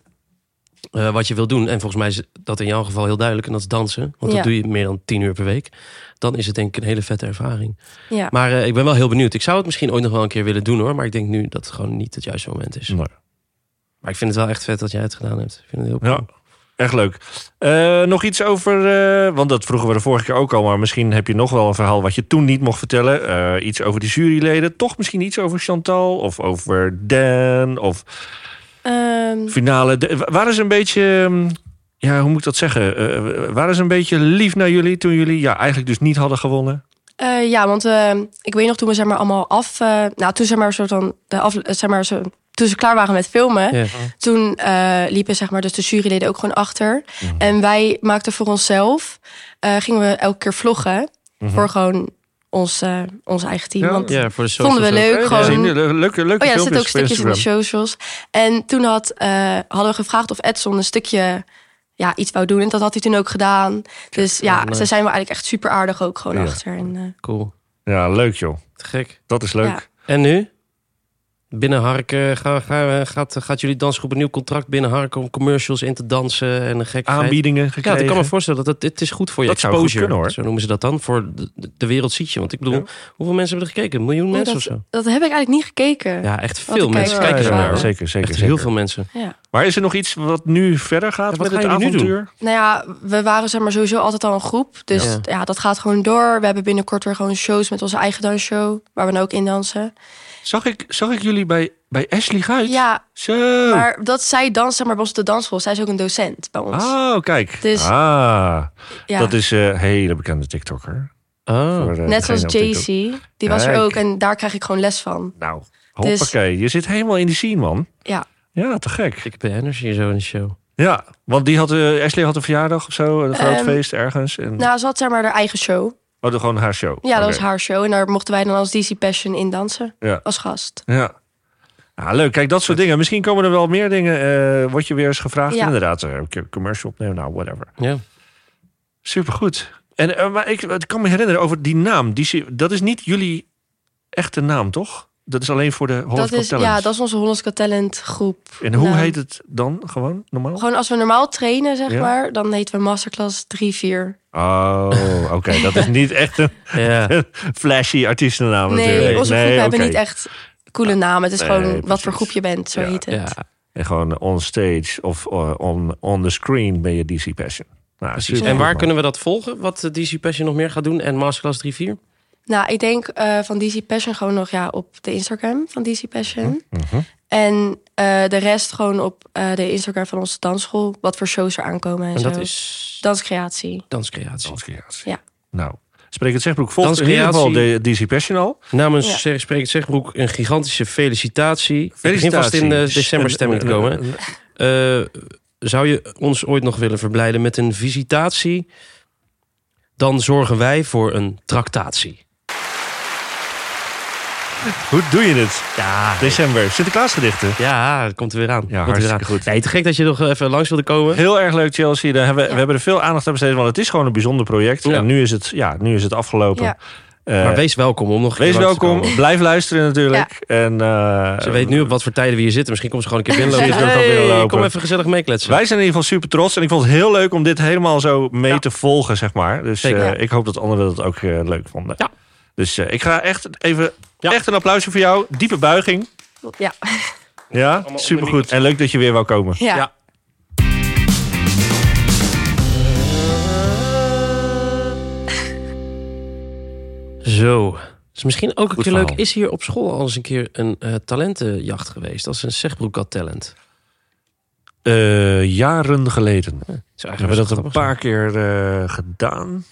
[SPEAKER 1] eh, wat je wil doen... en volgens mij is dat in jouw geval heel duidelijk... en dat is dansen, want
[SPEAKER 5] Ja.
[SPEAKER 1] dat doe je meer dan tien uur per week... dan is het denk ik een hele vette ervaring.
[SPEAKER 5] ja.
[SPEAKER 1] Maar eh, ik ben wel heel benieuwd. Ik zou het misschien ooit nog wel een keer willen doen hoor... maar ik denk nu dat het gewoon niet het juiste moment is.
[SPEAKER 2] Nee.
[SPEAKER 1] Maar ik vind het wel echt vet dat jij het gedaan hebt. Ik vind het heel
[SPEAKER 2] Ja,
[SPEAKER 1] cool.
[SPEAKER 2] echt leuk. Eh, nog iets over, eh, want dat vroegen we de vorige keer ook al, maar misschien heb je nog wel een verhaal wat je toen niet mocht vertellen. Eh, iets over die juryleden, toch misschien iets over Chantal of over Dan of
[SPEAKER 5] Ehm,
[SPEAKER 2] finale. De- wa- waren ze een beetje, ehm, ja, hoe moet ik dat zeggen? Eh, waren ze een beetje lief naar jullie toen jullie ja, eigenlijk dus niet hadden gewonnen?
[SPEAKER 5] eh, ja, want eh, ik weet nog toen we zeg maar allemaal af... eh, nou, toen zeg maar, soort van de af, eh, zeg maar zo, toen ze klaar waren met filmen...
[SPEAKER 1] Ja.
[SPEAKER 5] Toen eh, liepen zeg maar, dus de juryleden ook gewoon achter.
[SPEAKER 2] Mhm.
[SPEAKER 5] En wij maakten voor onszelf, eh, gingen we elke keer vloggen. Voor gewoon ons, eh, ons eigen team.
[SPEAKER 2] Mhm. Ja,
[SPEAKER 5] want,
[SPEAKER 1] Ja, voor de
[SPEAKER 5] Vonden we
[SPEAKER 1] socials ook.
[SPEAKER 5] leuk,
[SPEAKER 1] Ja,
[SPEAKER 5] gewoon-
[SPEAKER 1] ja.
[SPEAKER 2] Zien jullie le- leuke, leuke
[SPEAKER 5] oh ja, er
[SPEAKER 2] filmpjes
[SPEAKER 5] zitten ook
[SPEAKER 2] op
[SPEAKER 5] stukjes in de
[SPEAKER 2] Instagram.
[SPEAKER 5] socials. En toen had, eh, hadden we gevraagd of Edson een stukje ja, iets wou doen. En dat had hij toen ook gedaan. Dus ja,
[SPEAKER 1] nice.
[SPEAKER 5] ze zijn we eigenlijk echt super aardig ook gewoon
[SPEAKER 2] eh, Ja.
[SPEAKER 5] achter. En, eh,
[SPEAKER 1] Cool.
[SPEAKER 2] Ja, leuk joh.
[SPEAKER 1] Te gek.
[SPEAKER 2] Dat is leuk.
[SPEAKER 5] Ja.
[SPEAKER 1] En nu? binnenharken. Ga, ga, gaat, gaat jullie dansgroep een nieuw contract binnenharken om commercials in te dansen en een gek
[SPEAKER 2] Aanbiedingen
[SPEAKER 1] Ja,
[SPEAKER 2] gekregen.
[SPEAKER 1] dat kan me voorstellen. Dat het, het is goed voor je
[SPEAKER 2] Dat zou
[SPEAKER 1] exposure.
[SPEAKER 2] goed kunnen, hoor.
[SPEAKER 1] Zo noemen ze dat dan. Voor de, de wereld ziet je. Want ik bedoel,
[SPEAKER 2] Ja.
[SPEAKER 1] hoeveel mensen hebben er gekeken? Een miljoen
[SPEAKER 5] Oh,
[SPEAKER 1] mensen
[SPEAKER 5] dat,
[SPEAKER 1] of zo?
[SPEAKER 5] dat heb ik eigenlijk niet gekeken.
[SPEAKER 1] Ja, echt
[SPEAKER 5] Wat
[SPEAKER 1] veel
[SPEAKER 5] de
[SPEAKER 1] mensen
[SPEAKER 5] kijkers
[SPEAKER 1] kijken
[SPEAKER 2] ja,
[SPEAKER 1] er
[SPEAKER 5] waren.
[SPEAKER 1] naar. hoor. Echt
[SPEAKER 2] Zeker, zeker,
[SPEAKER 1] heel
[SPEAKER 2] zeker.
[SPEAKER 1] veel mensen.
[SPEAKER 5] ja.
[SPEAKER 2] Maar is er nog iets wat nu verder gaat
[SPEAKER 1] Ja, wat
[SPEAKER 2] met het
[SPEAKER 1] gaan jullie nu
[SPEAKER 2] avontuur?
[SPEAKER 5] Nou ja, we waren zeg maar sowieso altijd al een groep. Dus
[SPEAKER 1] Ja.
[SPEAKER 5] ja. dat gaat gewoon door. We hebben binnenkort weer gewoon shows met onze eigen dansshow. Waar we dan ook in dansen.
[SPEAKER 2] Zag ik, zag ik jullie bij, bij Ashley Guit?
[SPEAKER 5] Ja,
[SPEAKER 2] Zo.
[SPEAKER 5] maar dat zij danst zeg maar bij ons op de dansschool. Zij is ook een docent bij ons.
[SPEAKER 2] Oh, kijk.
[SPEAKER 5] Dus-
[SPEAKER 2] ah,
[SPEAKER 5] ja.
[SPEAKER 2] dat is eh, een hele bekende TikToker.
[SPEAKER 1] Oh.
[SPEAKER 2] Voor, eh,
[SPEAKER 5] Net
[SPEAKER 2] degene
[SPEAKER 5] zoals
[SPEAKER 2] op TikTok.
[SPEAKER 5] Jay-Z. Die was er
[SPEAKER 2] Kijk.
[SPEAKER 5] ook en daar krijg ik gewoon les van.
[SPEAKER 2] Nou, hoppakee. Je zit helemaal in die scene, man.
[SPEAKER 5] Dus- Ja.
[SPEAKER 2] Ja, te gek.
[SPEAKER 1] Ik ben energy zo in de show.
[SPEAKER 2] Ja, want die had, eh, Ashley had een verjaardag of zo, een groot
[SPEAKER 5] Ehm,
[SPEAKER 2] feest ergens. En,
[SPEAKER 5] Nou, ze had zeg maar haar eigen show.
[SPEAKER 2] oh, de- gewoon haar show.
[SPEAKER 5] Ja, dat
[SPEAKER 2] Oké.
[SPEAKER 5] was haar show. En daar mochten wij dan als DC Passion in dansen.
[SPEAKER 2] Ja.
[SPEAKER 5] Als gast.
[SPEAKER 2] Ja. Ah, leuk, kijk, dat soort dingen. Misschien komen er wel meer dingen. eh word je weer eens gevraagd,
[SPEAKER 5] Ja.
[SPEAKER 2] inderdaad. eh, Een keer commercial opnemen, nou, whatever.
[SPEAKER 1] Ja.
[SPEAKER 2] Supergoed. En, eh, maar ik, ik kan me herinneren over die naam. Die, zie- dat is niet jullie echte naam, toch? Dat is alleen voor de Holland
[SPEAKER 5] Dat is, ja, dat is onze Hollands Got Talent groep.
[SPEAKER 2] En hoe
[SPEAKER 5] Nou,
[SPEAKER 2] heet het dan gewoon, normaal?
[SPEAKER 5] Gewoon als we normaal trainen, zeg
[SPEAKER 2] Ja.
[SPEAKER 5] maar, dan heten we Masterclass 3-4.
[SPEAKER 2] Oh, oké.
[SPEAKER 5] [laughs]
[SPEAKER 2] Dat is niet echt een [laughs]
[SPEAKER 1] ja.
[SPEAKER 2] flashy artiestennaam
[SPEAKER 5] Nee,
[SPEAKER 2] natuurlijk.
[SPEAKER 5] onze groepen hebben
[SPEAKER 2] oké.
[SPEAKER 5] niet echt coole namen. Het is
[SPEAKER 2] Nee,
[SPEAKER 5] gewoon wat
[SPEAKER 2] precies.
[SPEAKER 5] voor groep je bent, zo
[SPEAKER 2] Ja,
[SPEAKER 5] heet het.
[SPEAKER 1] Ja,
[SPEAKER 2] En gewoon on stage of eh, on, on the screen ben je DC Passion. Nou,
[SPEAKER 1] precies.
[SPEAKER 2] supergoed,
[SPEAKER 1] En waar
[SPEAKER 2] man.
[SPEAKER 1] kunnen we dat volgen? Wat eh, DC Passion nog meer gaat doen? En Masterclass 3-4?
[SPEAKER 5] Nou, ik denk eh, van DC Passion gewoon nog ja, op de Instagram van DC Passion.
[SPEAKER 2] Mhm,
[SPEAKER 5] En eh, de rest gewoon op eh, de Instagram van onze dansschool. Wat voor shows er aankomen en,
[SPEAKER 1] En
[SPEAKER 5] zo.
[SPEAKER 1] dat is
[SPEAKER 5] Danscreatie.
[SPEAKER 1] danscreatie.
[SPEAKER 2] Danscreatie.
[SPEAKER 5] Ja.
[SPEAKER 2] Nou, Spreek het Zegbroek volgt in ieder geval
[SPEAKER 1] Danscreatie.
[SPEAKER 2] de DC Passion al.
[SPEAKER 1] Namens
[SPEAKER 5] Ja.
[SPEAKER 1] Zeg- Spreek het Zegbroek een gigantische felicitatie. Ik begin vast
[SPEAKER 2] Felicitaties.
[SPEAKER 1] in de decemberstemming te komen. Eh, zou je ons ooit nog willen verblijden met een visitatie? Dan zorgen wij voor een tractatie.
[SPEAKER 2] Hoe doe je het?
[SPEAKER 1] Ja,
[SPEAKER 2] December, Sinterklaasgedichten.
[SPEAKER 1] ja het komt er weer aan.
[SPEAKER 2] Ja,
[SPEAKER 1] komt er weer aan.
[SPEAKER 2] hartstikke goed.
[SPEAKER 1] Nee, te gek dat je nog eh, even langs wilde komen.
[SPEAKER 2] Heel erg leuk, Chelsea. Daar hebben, we- We hebben er veel aandacht aan besteed, want het is gewoon een bijzonder project.
[SPEAKER 1] Ja.
[SPEAKER 2] En nu is het, ja, nu is het afgelopen.
[SPEAKER 5] Ja.
[SPEAKER 2] Eh,
[SPEAKER 1] Maar wees welkom om nog een keer
[SPEAKER 2] wees
[SPEAKER 1] langs te
[SPEAKER 2] welkom,
[SPEAKER 1] komen.
[SPEAKER 2] blijf luisteren natuurlijk. En, eh,
[SPEAKER 1] Ze weet nu op wat voor tijden we hier zitten. Misschien komt ze gewoon een keer [laughs] binnenlopen.
[SPEAKER 2] Precies, we gaan
[SPEAKER 1] Hey,
[SPEAKER 2] binnenlopen.
[SPEAKER 1] kom even gezellig meekletsen.
[SPEAKER 2] Wij zijn in ieder geval super trots. En ik vond het heel leuk om dit helemaal zo mee te volgen, zeg maar. Dus
[SPEAKER 1] Zeker.
[SPEAKER 2] eh, ik hoop dat anderen dat ook eh, leuk vonden.
[SPEAKER 1] Ja.
[SPEAKER 2] Dus eh, ik ga echt even... Echt een applausje voor jou. Diepe buiging.
[SPEAKER 5] Ja. [laughs]
[SPEAKER 2] Ja, supergoed. En leuk dat je weer wou komen.
[SPEAKER 5] ja.
[SPEAKER 1] Ja. [laughs] Zo. Dus misschien ook een
[SPEAKER 2] Goed
[SPEAKER 1] keer leuk.
[SPEAKER 2] verhaal.
[SPEAKER 1] Is hier op school al eens een keer een eh, talentenjacht geweest? Als een Zegbroek had talent.
[SPEAKER 2] Eh, jaren geleden
[SPEAKER 1] Zou
[SPEAKER 2] hebben we
[SPEAKER 1] eigenlijk
[SPEAKER 2] dat
[SPEAKER 1] wel
[SPEAKER 2] een
[SPEAKER 1] grappig zijn.
[SPEAKER 2] paar keer eh, gedaan.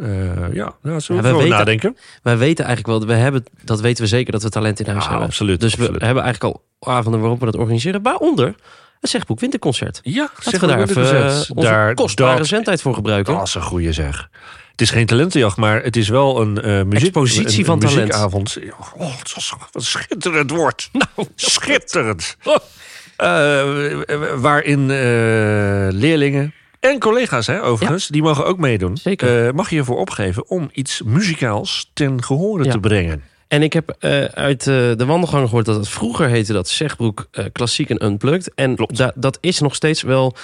[SPEAKER 2] Eh, ja, ja zo
[SPEAKER 1] we
[SPEAKER 2] we
[SPEAKER 1] weten-
[SPEAKER 2] nadenken.
[SPEAKER 1] Wij weten eigenlijk wel, we hebben, dat weten we zeker, dat we talent in huis
[SPEAKER 2] Ja,
[SPEAKER 1] hebben.
[SPEAKER 2] absoluut,
[SPEAKER 1] Dus
[SPEAKER 2] absoluut.
[SPEAKER 1] we hebben eigenlijk al avonden waarop we dat organiseren. Waaronder het Zegboek Winterconcert.
[SPEAKER 2] Ja,
[SPEAKER 1] Laten we daar even eh, onze kostbare
[SPEAKER 2] dat,
[SPEAKER 1] zendtijd voor gebruiken.
[SPEAKER 2] dat is een goede zeg. Het is geen talentenjacht, maar het is wel een eh muziek,
[SPEAKER 1] Expositie
[SPEAKER 2] een-
[SPEAKER 1] van
[SPEAKER 2] een
[SPEAKER 1] talent.
[SPEAKER 2] muziekavond. Oh, het was- wat een schitterend
[SPEAKER 1] [laughs]
[SPEAKER 2] woord. Nou, schitterend. Eh, waarin eh, leerlingen en collega's, hè, overigens, die mogen ook meedoen.
[SPEAKER 1] Zeker.
[SPEAKER 2] Eh, mag je ervoor opgeven om iets muzikaals ten gehore
[SPEAKER 1] Ja.
[SPEAKER 2] te brengen.
[SPEAKER 1] En ik heb eh, uit eh, de wandelgang gehoord dat het vroeger heette dat Zegbroek eh, klassiek en unplugged. En da- dat is nog steeds wel.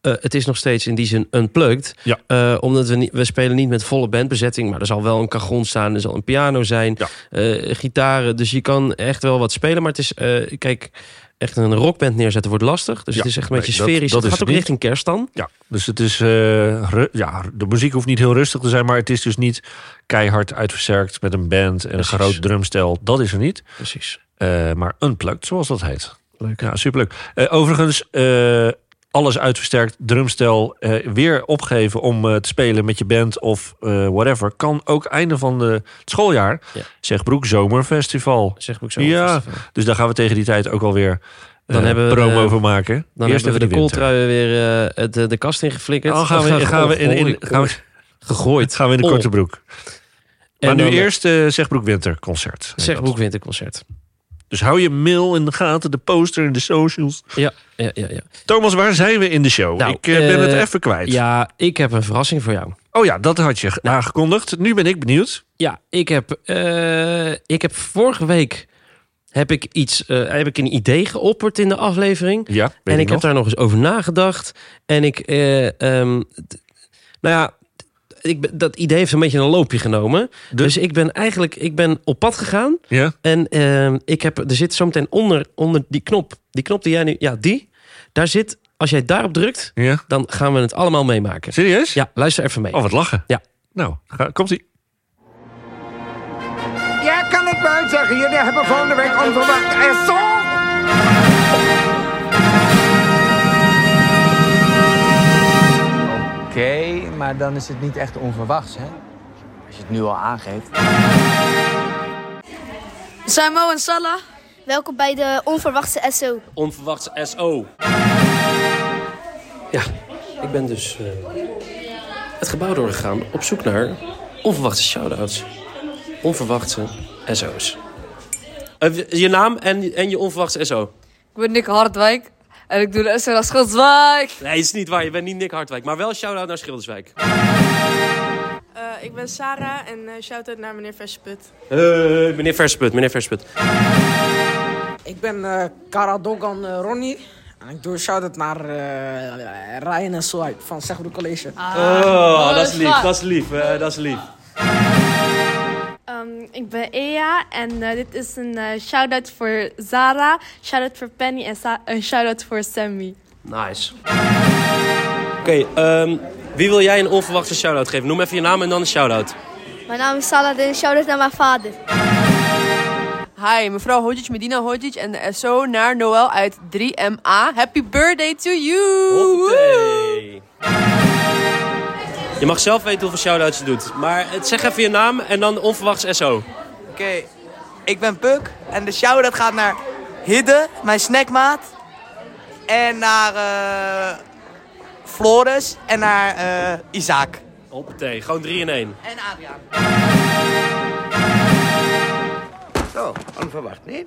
[SPEAKER 1] eh, het is nog steeds in die zin unplugged.
[SPEAKER 2] Ja.
[SPEAKER 1] Eh, omdat we, niet, we spelen niet met volle bandbezetting. Maar er zal wel een cajon staan. Er zal een piano zijn.
[SPEAKER 2] Ja.
[SPEAKER 1] eh, gitaren. Dus je kan echt wel wat spelen. Maar het is, eh, kijk, echt een rockband neerzetten wordt lastig. Dus
[SPEAKER 2] Ja,
[SPEAKER 1] het is echt een beetje
[SPEAKER 2] nee, dat-
[SPEAKER 1] sferisch.
[SPEAKER 2] dat
[SPEAKER 1] het
[SPEAKER 2] is
[SPEAKER 1] gaat ook
[SPEAKER 2] het niet.
[SPEAKER 1] richting kerst dan.
[SPEAKER 2] Ja, dus het is. eh, ru- ja, de muziek hoeft niet heel rustig te zijn, maar het is dus niet keihard uitversterkt met een band en een
[SPEAKER 1] Precies.
[SPEAKER 2] groot drumstel. Dat is er niet.
[SPEAKER 1] Precies.
[SPEAKER 2] Eh, maar unplugged, zoals dat heet.
[SPEAKER 1] Leuk.
[SPEAKER 2] Ja, superleuk. Eh, overigens, eh, alles uitversterkt, drumstel, eh, weer opgeven om eh, te spelen met je band of eh, whatever. Kan ook einde van de, het schooljaar.
[SPEAKER 1] Ja.
[SPEAKER 2] Zeg Broek Zomerfestival.
[SPEAKER 1] Zegbroek zo.
[SPEAKER 2] Ja, dus daar gaan we tegen die tijd ook alweer eh,
[SPEAKER 1] Dan hebben we
[SPEAKER 2] promo
[SPEAKER 1] de-
[SPEAKER 2] voor maken.
[SPEAKER 1] Dan
[SPEAKER 2] Eerst
[SPEAKER 1] hebben we
[SPEAKER 2] even
[SPEAKER 1] de
[SPEAKER 2] winter.
[SPEAKER 1] kooltrui weer eh, het, eh, de kast ingeflikkerd.
[SPEAKER 2] Dan gaan we,
[SPEAKER 1] Of,
[SPEAKER 2] gaan we, in, in,
[SPEAKER 1] of-
[SPEAKER 2] gaan we,
[SPEAKER 1] gegooid.
[SPEAKER 2] gaan we in de
[SPEAKER 1] Ol.
[SPEAKER 2] korte broek. Maar
[SPEAKER 1] En
[SPEAKER 2] nu
[SPEAKER 1] dan, eh,
[SPEAKER 2] eerst eh Zegbroek Winterconcert. heet
[SPEAKER 1] Zegbroek
[SPEAKER 2] dat.
[SPEAKER 1] Winterconcert.
[SPEAKER 2] Dus hou je mail in de gaten, de poster en de socials.
[SPEAKER 1] Ja, ja, ja, ja.
[SPEAKER 2] Thomas, waar zijn we in de show?
[SPEAKER 1] Nou,
[SPEAKER 2] ik eh, ben
[SPEAKER 1] eh,
[SPEAKER 2] het even kwijt.
[SPEAKER 1] ja, ik heb een verrassing voor jou.
[SPEAKER 2] Oh ja, dat had je aangekondigd. Nu ben ik benieuwd.
[SPEAKER 1] Ja, ik heb, eh, ik heb vorige week heb ik, iets, eh, heb ik een idee geopperd in de aflevering.
[SPEAKER 2] Ja, weet
[SPEAKER 1] en ik
[SPEAKER 2] nog.
[SPEAKER 1] heb daar nog eens over nagedacht. En ik, eh, ehm, t- nou ja, t- ik, ben- dat idee heeft een beetje een loopje genomen. Dus ik ben eigenlijk ik ben op pad gegaan.
[SPEAKER 2] Ja,
[SPEAKER 1] En ehm, ik heb, er zit zometeen onder, onder die knop. Die knop die jij nu, ja, die. Daar zit, als jij daarop drukt,
[SPEAKER 2] ja.
[SPEAKER 1] dan gaan we het allemaal meemaken.
[SPEAKER 2] Serieus?
[SPEAKER 1] Ja, luister even mee.
[SPEAKER 2] Oh, wat lachen.
[SPEAKER 1] Ja.
[SPEAKER 2] Nou, ga- komt-ie.
[SPEAKER 6] Ja, kan ik wel zeggen. Jullie hebben volgende week onverwacht en zo.
[SPEAKER 7] Oké, maar dan is het niet echt onverwachts, hè? Als je het nu al aangeeft.
[SPEAKER 8] Zijn Mo en Salah?
[SPEAKER 9] Welkom bij de onverwachte SO.
[SPEAKER 1] Onverwachts SO. Ja, ik ben dus eh, het gebouw doorgegaan op zoek naar onverwachte shout-outs. Onverwachte SO's. Eh, je naam en, en je onverwachte SO.
[SPEAKER 8] Ik ben Nick Hardwijk en ik doe de SNA Schilderswijk.
[SPEAKER 1] Nee, is niet waar. Je bent niet Nick Hartwijk, maar wel shout-out naar Schilderswijk.
[SPEAKER 10] Eh, ik ben Sarah en eh, shout-out naar meneer Versput.
[SPEAKER 1] Eh, meneer Versput, meneer Versput.
[SPEAKER 11] Ik ben eh Karadogan eh, Ronnie. En ik doe een shout-out naar eh Ryan en Swipe van Zegbroek College.
[SPEAKER 1] Oh,
[SPEAKER 8] Ah, dat is lief, dat
[SPEAKER 1] is lief, eh, dat is lief.
[SPEAKER 9] Um, ik ben Ea en eh, dit is een eh, shout-out voor Zara, shout-out voor Penny en Sa- een shout-out voor Sammy.
[SPEAKER 1] Nice. Oké, ehm, wie wil jij een onverwachte shout-out geven? Noem even je naam en dan een shout-out.
[SPEAKER 9] Mijn naam is Salah en shout-out naar mijn vader.
[SPEAKER 10] Hi, mevrouw Hodjic, Medina Hodjic en de SO naar Noël uit 3MA. Happy birthday to you!
[SPEAKER 1] Hoppatee. Je mag zelf weten hoeveel shout-outs je doet. Maar het- zeg even je naam en dan onverwachts SO.
[SPEAKER 7] Oké, ik ben Puk en de shout-out gaat naar Hidde, mijn snackmaat. En naar eh Flores en naar eh Isaac.
[SPEAKER 1] Hoppatee, gewoon 3 in 1.
[SPEAKER 7] En Adriaan.
[SPEAKER 6] Zo, onverwacht, nee?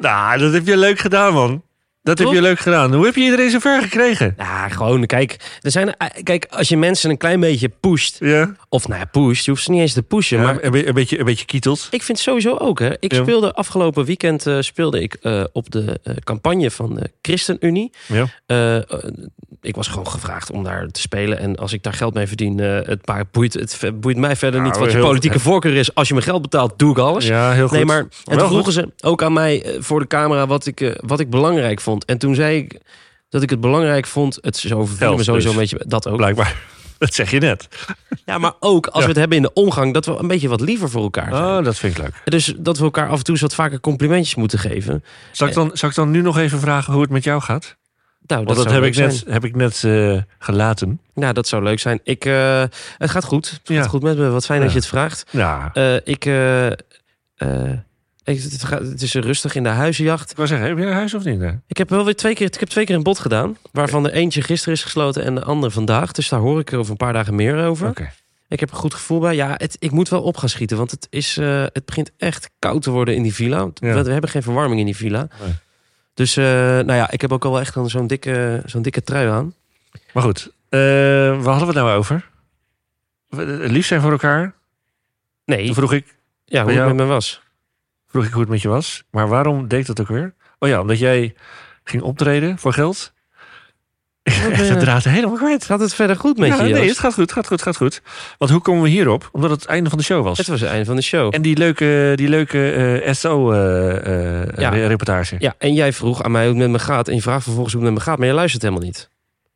[SPEAKER 2] Nou, dat heb je leuk gedaan, man. Dat heb
[SPEAKER 1] Toch?
[SPEAKER 2] je leuk gedaan. Hoe heb je iedereen zover gekregen?
[SPEAKER 1] Nou, gewoon, kijk, er zijn, eh, kijk, als je mensen een klein beetje pusht...
[SPEAKER 2] Ja.
[SPEAKER 1] Of nou ja, pusht, je hoeft ze niet eens te pushen, maar...
[SPEAKER 2] Maar een, be- een beetje, een beetje kietels.
[SPEAKER 1] Ik vind sowieso ook, hè. Ik
[SPEAKER 2] Ja.
[SPEAKER 1] speelde afgelopen weekend eh, speelde ik, eh, op de eh, campagne van de ChristenUnie.
[SPEAKER 2] Ja.
[SPEAKER 1] Eh, eh, ik was gewoon gevraagd om daar te spelen. En als ik daar geld mee verdien, eh, het, maar boeit, het ve- boeit mij verder
[SPEAKER 2] Nou,
[SPEAKER 1] niet wat je
[SPEAKER 2] heel-
[SPEAKER 1] politieke voorkeur is. Als je me geld betaalt, doe ik alles.
[SPEAKER 2] Ja, heel goed.
[SPEAKER 1] Nee, maar en toen
[SPEAKER 2] Wel goed.
[SPEAKER 1] vroegen ze ook aan mij eh, voor de camera wat ik, eh, wat ik belangrijk vond. En toen zei ik dat ik het belangrijk vond. Het zo overviel
[SPEAKER 2] Geld
[SPEAKER 1] me sowieso
[SPEAKER 2] dus.
[SPEAKER 1] een beetje dat ook.
[SPEAKER 2] Blijkbaar. [laughs] Dat zeg je net.
[SPEAKER 1] Ja, maar ook als
[SPEAKER 2] Ja.
[SPEAKER 1] we het hebben in de omgang, dat we een beetje wat liever voor elkaar zijn.
[SPEAKER 2] Oh, dat vind ik leuk.
[SPEAKER 1] Dus dat we elkaar af en toe eens wat vaker complimentjes moeten geven.
[SPEAKER 2] Zal ik, dan, zal ik dan nu nog even vragen hoe het met jou gaat?
[SPEAKER 1] Nou, dat,
[SPEAKER 2] Want dat,
[SPEAKER 1] zou
[SPEAKER 2] heb,
[SPEAKER 1] leuk
[SPEAKER 2] ik net,
[SPEAKER 1] zijn.
[SPEAKER 2] heb ik net eh, gelaten.
[SPEAKER 1] Nou, dat zou leuk zijn. Ik, eh, het gaat goed. Het
[SPEAKER 2] Ja.
[SPEAKER 1] gaat goed met me. Wat fijn dat
[SPEAKER 2] Ja.
[SPEAKER 1] je het vraagt.
[SPEAKER 2] Ja.
[SPEAKER 1] Eh, ik, eh, eh, ik- het, gaat, het is rustig in de huizenjacht.
[SPEAKER 2] Ik wou zeggen, heb je een huis of niet? Ja.
[SPEAKER 1] Ik heb wel weer twee keer, ik heb twee keer een bod gedaan. Waarvan de eentje gisteren is gesloten en de andere vandaag. Dus daar hoor ik over een paar dagen meer over.
[SPEAKER 2] Oké.
[SPEAKER 1] Ik heb een goed gevoel bij. Ja, het, ik moet wel op gaan schieten. Want het, is, eh, het begint echt koud te worden in die villa. Want
[SPEAKER 2] Ja.
[SPEAKER 1] We, we hebben geen verwarming in die villa.
[SPEAKER 2] Nee.
[SPEAKER 1] Dus eh, nou ja, ik heb ook al wel echt dan zo'n dikke, zo'n dikke trui aan.
[SPEAKER 2] Maar goed, eh, waar hadden we het nou over? We- eh, Lief zijn voor elkaar?
[SPEAKER 1] Nee,
[SPEAKER 2] Toen vroeg ik,
[SPEAKER 1] ja, hoe
[SPEAKER 2] bij
[SPEAKER 1] het
[SPEAKER 2] jou?
[SPEAKER 1] met me
[SPEAKER 2] [laughs]
[SPEAKER 1] was.
[SPEAKER 2] vroeg ik hoe het met je was. Maar waarom deed ik dat ook weer? Oh ja, omdat jij ging optreden voor geld. Echt,
[SPEAKER 1] eh,
[SPEAKER 2] [laughs] dat draad helemaal kwijt.
[SPEAKER 1] Gaat het verder goed met
[SPEAKER 2] Ja,
[SPEAKER 1] je?
[SPEAKER 2] nee,
[SPEAKER 1] Joost?
[SPEAKER 2] het gaat goed, gaat goed, gaat goed. Want hoe komen we hierop? Omdat het het einde van de show was.
[SPEAKER 1] Het was het einde van de show.
[SPEAKER 2] En die leuke, die leuke eh, SO-reportage.
[SPEAKER 1] Ja. Ja, en jij vroeg aan mij hoe het met me gaat. En je vraagt vervolgens hoe het met me gaat. Maar je luistert helemaal niet.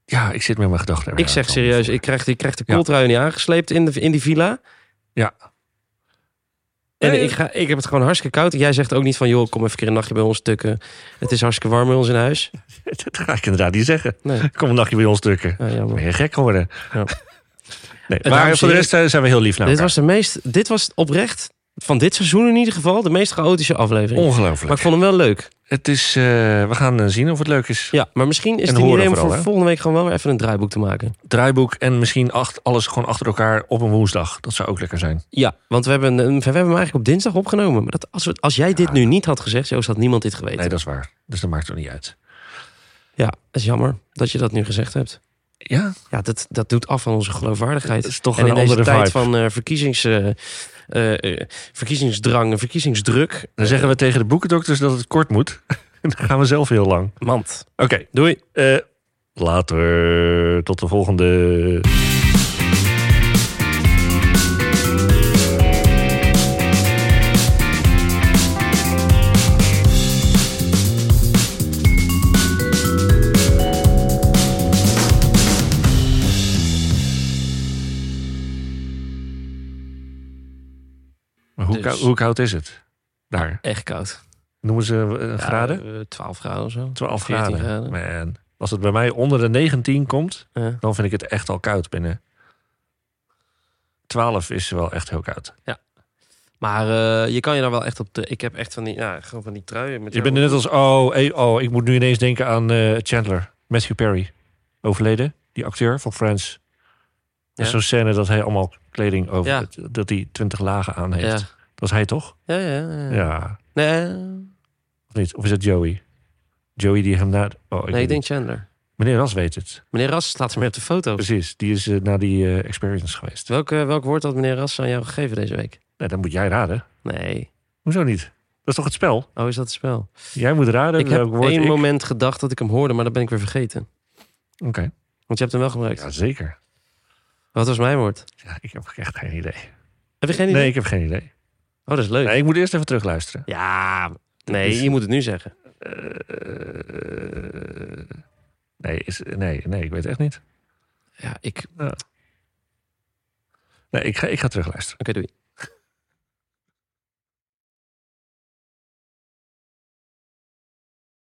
[SPEAKER 2] Ja, ik zit met mijn gedachten.
[SPEAKER 1] ik zeg serieus, ik krijg, ik krijg de
[SPEAKER 2] Ja.
[SPEAKER 1] kooltrui niet aangesleept in, de, in die villa.
[SPEAKER 2] Ja.
[SPEAKER 1] En
[SPEAKER 2] Nee.
[SPEAKER 1] ik, ga, ik heb het gewoon hartstikke koud. En jij zegt ook niet van, joh, kom even een keer een nachtje bij ons tukken. Het is hartstikke warm bij ons in huis.
[SPEAKER 2] Dat [laughs] ga ik inderdaad niet zeggen. [laughs]
[SPEAKER 1] Nee,
[SPEAKER 2] Kom een nachtje bij ons drukken.
[SPEAKER 1] ja, jammer.
[SPEAKER 2] Ben je gek geworden?
[SPEAKER 1] Ja.
[SPEAKER 2] Nee, maar
[SPEAKER 1] dames
[SPEAKER 2] voor de
[SPEAKER 1] en
[SPEAKER 2] rest eh, zijn we heel lief naar
[SPEAKER 1] dit,
[SPEAKER 2] elkaar.
[SPEAKER 1] was de meest, dit was oprecht, van dit seizoen in ieder geval, de meest chaotische aflevering. Maar
[SPEAKER 2] Ongelooflijk.
[SPEAKER 1] ik vond hem wel leuk.
[SPEAKER 2] Het is, eh, we gaan eh, zien of het leuk is.
[SPEAKER 1] Ja, maar misschien is
[SPEAKER 2] En
[SPEAKER 1] het een
[SPEAKER 2] horen
[SPEAKER 1] idee om
[SPEAKER 2] vooral,
[SPEAKER 1] voor
[SPEAKER 2] hè?
[SPEAKER 1] volgende week gewoon wel weer even een draaiboek te maken.
[SPEAKER 2] Draaiboek en misschien acht, alles gewoon achter elkaar op een woensdag. Dat zou ook lekker zijn.
[SPEAKER 1] Ja, want we hebben, een- we hebben hem eigenlijk op dinsdag opgenomen. Maar dat, als, we, als jij dit nu niet had gezegd, Joost, had niemand dit geweten.
[SPEAKER 2] Nee, dat is waar. Dus dat maakt toch niet uit.
[SPEAKER 1] Ja, dat is jammer dat je dat nu gezegd hebt.
[SPEAKER 2] Ja.
[SPEAKER 1] Ja, dat, dat doet af van onze geloofwaardigheid.
[SPEAKER 2] Het is toch
[SPEAKER 1] en
[SPEAKER 2] een
[SPEAKER 1] in deze
[SPEAKER 2] andere
[SPEAKER 1] tijd
[SPEAKER 2] vibe.
[SPEAKER 1] van eh, verkiezings, eh, eh, eh, verkiezingsdrang en verkiezingsdruk.
[SPEAKER 2] Dan zeggen we tegen de boekendokters dat het kort moet. [laughs] Dan gaan we zelf heel lang.
[SPEAKER 1] Mand.
[SPEAKER 2] Oké,
[SPEAKER 1] doei.
[SPEAKER 2] Eh, later. Tot de volgende. Maar Hoe,
[SPEAKER 1] Dus.
[SPEAKER 2] kou- hoe koud is het? Daar.
[SPEAKER 1] Echt koud.
[SPEAKER 2] Noemen ze eh, graden?
[SPEAKER 1] Ja, eh, 12 graden of zo.
[SPEAKER 2] 12
[SPEAKER 1] 14
[SPEAKER 2] graden. Man, als het bij mij onder de 19 komt,
[SPEAKER 1] Ja.
[SPEAKER 2] dan vind ik het echt al koud binnen. 12 is wel echt heel koud.
[SPEAKER 1] Maar eh, je kan je daar wel echt op... De, ik heb echt van die, ja, gewoon van die truien. Met
[SPEAKER 2] Je bent net als, oh, eh, oh, ik moet nu ineens denken aan eh, Chandler. Matthew Perry. Overleden. Die acteur van Friends.
[SPEAKER 1] Ja.
[SPEAKER 2] Ja. Zo'n scène dat hij allemaal kleding over...
[SPEAKER 1] Ja.
[SPEAKER 2] Dat hij 20 lagen aan heeft.
[SPEAKER 1] Ja.
[SPEAKER 2] Dat is hij toch?
[SPEAKER 1] Ja, ja, ja.
[SPEAKER 2] Ja.
[SPEAKER 1] Nee,
[SPEAKER 2] Of niet? Of is dat Joey? Joey die hem na... Oh,
[SPEAKER 1] nee, ik
[SPEAKER 2] weet
[SPEAKER 1] denk
[SPEAKER 2] niet.
[SPEAKER 1] Chandler.
[SPEAKER 2] Meneer Ras weet het.
[SPEAKER 1] Meneer Ras staat ermee op de foto.
[SPEAKER 2] Precies. Die is eh, naar die eh, experience geweest.
[SPEAKER 1] Welk, eh, welk woord had meneer Ras aan jou gegeven deze week?
[SPEAKER 2] Nee, dan moet jij raden.
[SPEAKER 1] Nee.
[SPEAKER 2] Hoezo niet? Dat is toch het spel?
[SPEAKER 1] Oh, is dat het spel?
[SPEAKER 2] Jij moet raden.
[SPEAKER 1] Ik heb
[SPEAKER 2] welk eh, woord
[SPEAKER 1] één
[SPEAKER 2] ik-
[SPEAKER 1] moment gedacht dat ik hem hoorde, maar dat ben ik weer vergeten.
[SPEAKER 2] Oké.
[SPEAKER 1] Want je hebt hem wel gebruikt.
[SPEAKER 2] Jazeker.
[SPEAKER 1] Wat was mijn woord?
[SPEAKER 2] Ja, ik heb echt geen idee.
[SPEAKER 1] Heb je geen idee?
[SPEAKER 2] Nee, ik heb geen idee.
[SPEAKER 1] Oh, dat is leuk.
[SPEAKER 2] Nee, ik moet eerst even terugluisteren.
[SPEAKER 1] Ja,
[SPEAKER 2] is-
[SPEAKER 1] nee, je moet het nu zeggen.
[SPEAKER 2] Nee, is, nee, nee, ik weet echt niet.
[SPEAKER 1] Ja, ik... Oké,
[SPEAKER 2] Nee, ik ga, ik ga terugluisteren.
[SPEAKER 1] doei.